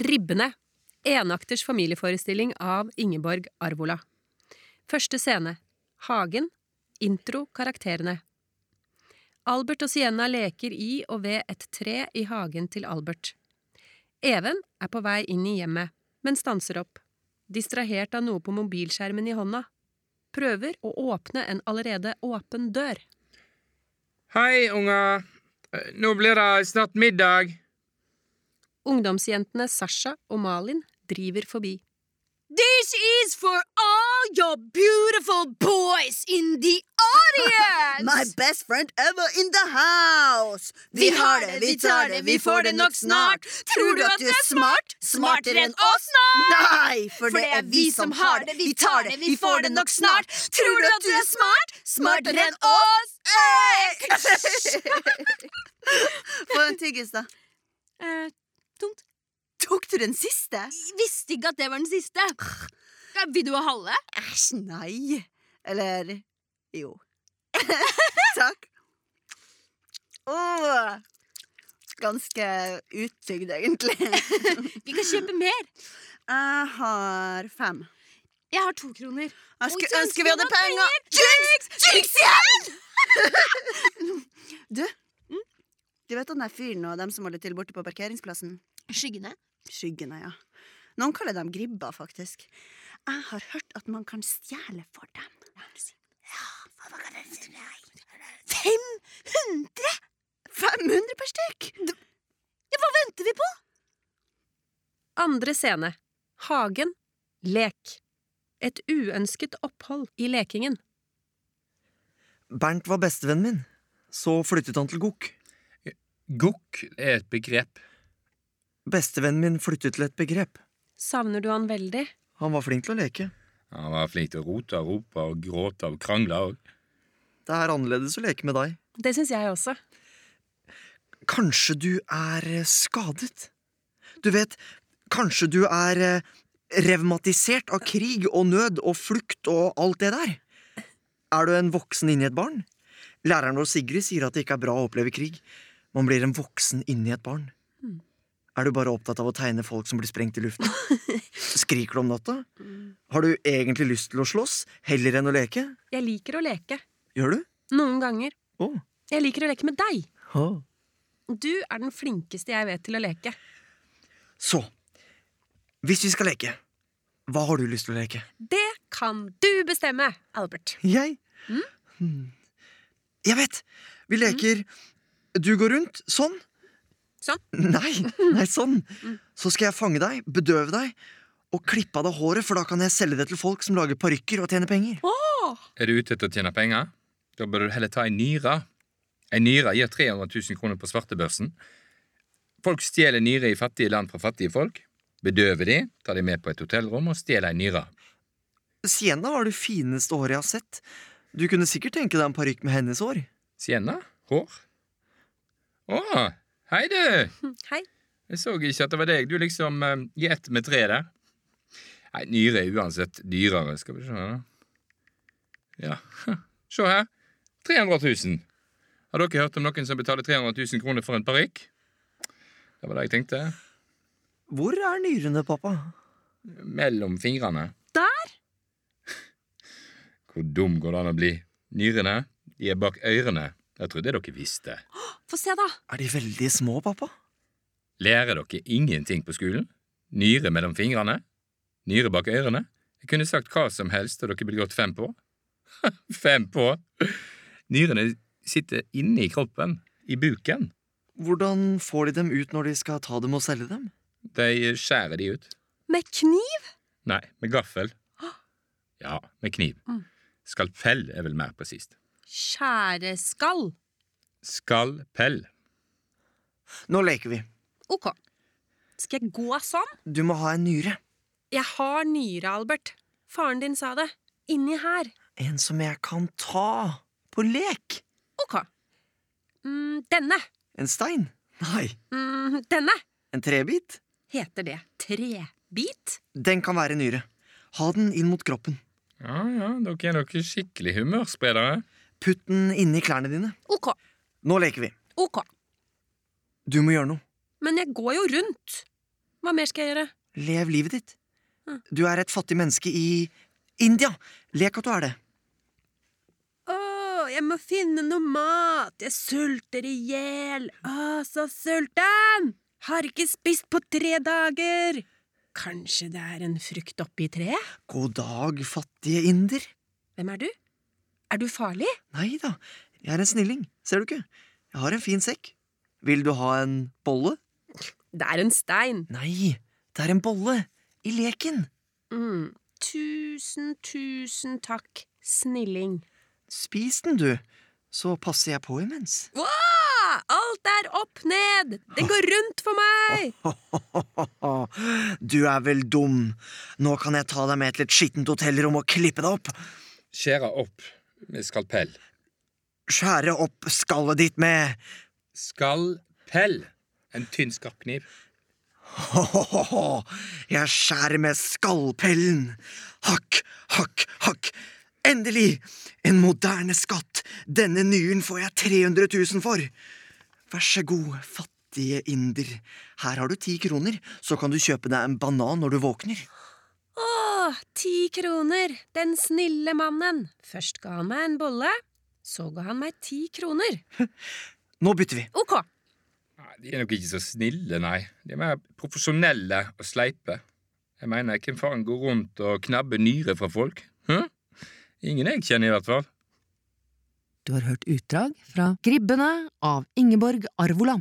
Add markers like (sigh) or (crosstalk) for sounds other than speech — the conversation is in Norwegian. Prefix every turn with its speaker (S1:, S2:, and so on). S1: Gribbene. Enakters familieforestilling av Ingeborg Arvola. Første scene. Hagen. Intro karakterene. Albert og Sienna leker i og ved et tre i hagen til Albert. Even er på vei inn i hjemmet, men stanser opp. Distrahert av noe på mobilskjermen i hånda. Prøver å åpne en allerede åpen dør.
S2: Hei, unger. Eh, Nå blir det snart middag.
S1: Ungdomsjentene Sasha og Malin driver forbi.
S3: This is for all your beautiful boys in the
S4: (laughs)
S3: audience!
S4: My best friend ever in the house!
S3: Vi har det, vi tar det, vi får det nok snart. Tror du at du er smart? Smartere enn oss snart!
S4: Nei, for det er vi som har det, vi tar det, vi får det nok snart. Tror du at du er smart?
S3: Smartere enn
S4: oss!
S3: oss!
S4: (laughs) Få en tyggis, da.
S3: Eh, tomt.
S4: Tok du den siste?
S3: Jeg Visste ikke at det var den siste. Ja, Vil du ha halve?
S4: Æsj, nei. Eller jo. Takk. Åh. Ganske utbygd, egentlig.
S3: Vi kan kjøpe mer.
S4: Jeg har fem.
S3: Jeg har to kroner.
S4: Jeg
S3: Oi,
S4: skulle
S3: så
S4: ønske vi hadde
S3: ønsker vi
S4: penger!
S3: Jinx! Jinx igjen!
S4: Du, du vet han der fyren og dem som holder til borte på parkeringsplassen?
S3: Skyggene.
S4: Skyggene, ja. Noen kaller dem gribber, faktisk. Jeg har hørt at man kan stjele for dem.
S3: 500
S4: 500 per stykk!
S3: venter vi på!
S1: Andre scene. Hagen. Lek. Et uønsket opphold i lekingen.
S5: Bernt var bestevennen min. Så flyttet han til Gokk.
S2: Gokk er et begrep.
S5: Bestevennen min flyttet til et begrep.
S1: Savner du han veldig?
S5: Han var flink til å leke.
S2: Han var flink til å rote og rope og gråte og krangle òg.
S5: Det er annerledes å leke med deg.
S1: Det syns jeg også.
S5: Kanskje du er eh, skadet? Du vet, kanskje du er eh, revmatisert av krig og nød og flukt og alt det der? Er du en voksen inni et barn? Læreren vår Sigrid sier at det ikke er bra å oppleve krig. Man blir en voksen inni et barn. Er du bare opptatt av å tegne folk som blir sprengt i luften? Skriker du om natta? Har du egentlig lyst til å slåss, heller enn å leke?
S1: Jeg liker å leke.
S5: Gjør du?
S1: Noen ganger.
S5: Å.
S1: Jeg liker å leke med deg.
S5: Oh.
S1: Du er den flinkeste jeg vet til å leke.
S5: Så, hvis vi skal leke, hva har du lyst til å leke?
S1: Det kan du bestemme, Albert. (laughs)
S5: Jeg? Hmm. Jeg vet! Vi leker Du går rundt, sånn.
S1: Sånn?
S5: (laughs) Nei, nei, sånn. Så skal jeg fange deg, bedøve deg og klippe av deg håret, for da kan jeg selge det til folk som lager parykker og tjener penger.
S2: Er du ute etter å tjene penger? Da bør du heller ta ei nyre. Ei nyre gir 300 000 kroner på svartebørsen. Folk stjeler nyrer i fattige land fra fattige folk. Bedøver de, tar de med på et hotellrom og stjeler ei nyre.
S5: Sienna har det fineste håret jeg har sett. Du kunne sikkert tenke deg en parykk med hennes hår.
S2: Sienna? Hår? Å, hei, du!
S1: Hm, Hei.
S2: Jeg så ikke at det var deg. Du liksom eh, i ett med tre der. Nei, nyre er uansett dyrere. Skal vi se her, da. Ja. (laughs) Se her. 300 000. Har dere hørt om noen som betaler 300 000 kroner for en parykk? Det var det jeg tenkte.
S5: Hvor er nyrene, pappa?
S2: Mellom fingrene.
S1: Der!
S2: Hvor dum går det an å bli? Nyrene, de er bak ørene. Jeg trodde dere visste.
S1: Få se, da.
S5: Er de veldig små, pappa?
S2: Lærer dere ingenting på skolen? Nyre mellom fingrene? Nyre bak ørene? Jeg kunne sagt hva som helst, og dere ville gått fem på. (laughs) fem på! Nyrene sitter inne i kroppen, i buken.
S5: Hvordan får de dem ut når de skal ta dem og selge dem?
S2: De skjærer de ut.
S1: Med kniv?
S2: Nei, med (gasps) gaffel. Ja, med kniv.
S1: Mm.
S2: Skalpell er vel mer presist.
S1: Skjæreskall.
S2: Skalpell.
S5: Nå leker vi.
S1: Ok. Skal jeg gå sånn?
S5: Du må ha en nyre.
S1: Jeg har nyre, Albert. Faren din sa det. Inni her.
S5: En som jeg kan ta på lek.
S1: Ok. Mm, denne.
S5: En stein? Nei.
S1: Mm, denne
S5: En trebit?
S1: heter det trebit.
S5: Den kan være nyre. Ha den inn mot kroppen.
S2: Ja, ja, dere er dere skikkelig humørspredere.
S5: Putt den inni klærne dine.
S1: Ok,
S5: Nå leker vi.
S1: ok.
S5: Du må gjøre noe.
S1: Men jeg går jo rundt. Hva mer skal jeg gjøre?
S5: Lev livet ditt.
S1: Mm.
S5: Du er et fattig menneske i India. Lek at du er det.
S1: Å, jeg må finne noe mat! Jeg sulter i hjel! Å, så sulten! Har ikke spist på tre dager! Kanskje det er en frukt oppi treet?
S5: God dag, fattige inder.
S1: Hvem er du? Er du farlig?
S5: Nei da, jeg er en snilling. Ser du ikke? Jeg har en fin sekk. Vil du ha en bolle?
S1: Det er en stein.
S5: Nei, det er en bolle. I leken.
S1: Mm. Tusen, tusen takk, snilling.
S5: Spis den, du. Så passer jeg på imens. (laughs)
S1: Ah, alt er opp ned! Det går rundt for meg!
S5: Du er vel dum. Nå kan jeg ta deg med til et skittent hotellrom og klippe deg opp.
S2: Skjære opp med skalpell.
S5: Skjære opp skallet ditt med (laughs)
S2: Skalpell. En tynn, skarp kniv.
S5: Jeg skjærer med skallpellen. Hakk, hakk, hakk. Endelig! En moderne skatt. Denne nyen får jeg 300 000 for. Vær så god, fattige inder. Her har du ti kroner, så kan du kjøpe deg en banan når du våkner.
S1: Åh, ti kroner! Den snille mannen. Først ga han meg en bolle, så ga han meg ti kroner.
S5: Nå bytter vi.
S1: Ok,
S2: Nei, De er nok ikke så snille, nei. De er mer profesjonelle og sleipe. Jeg mener, hvem faen går rundt og knabber nyrer fra folk? Hm? Ingen jeg kjenner, i hvert fall.
S6: Du har hørt utdrag fra Gribbene av Ingeborg Arvola.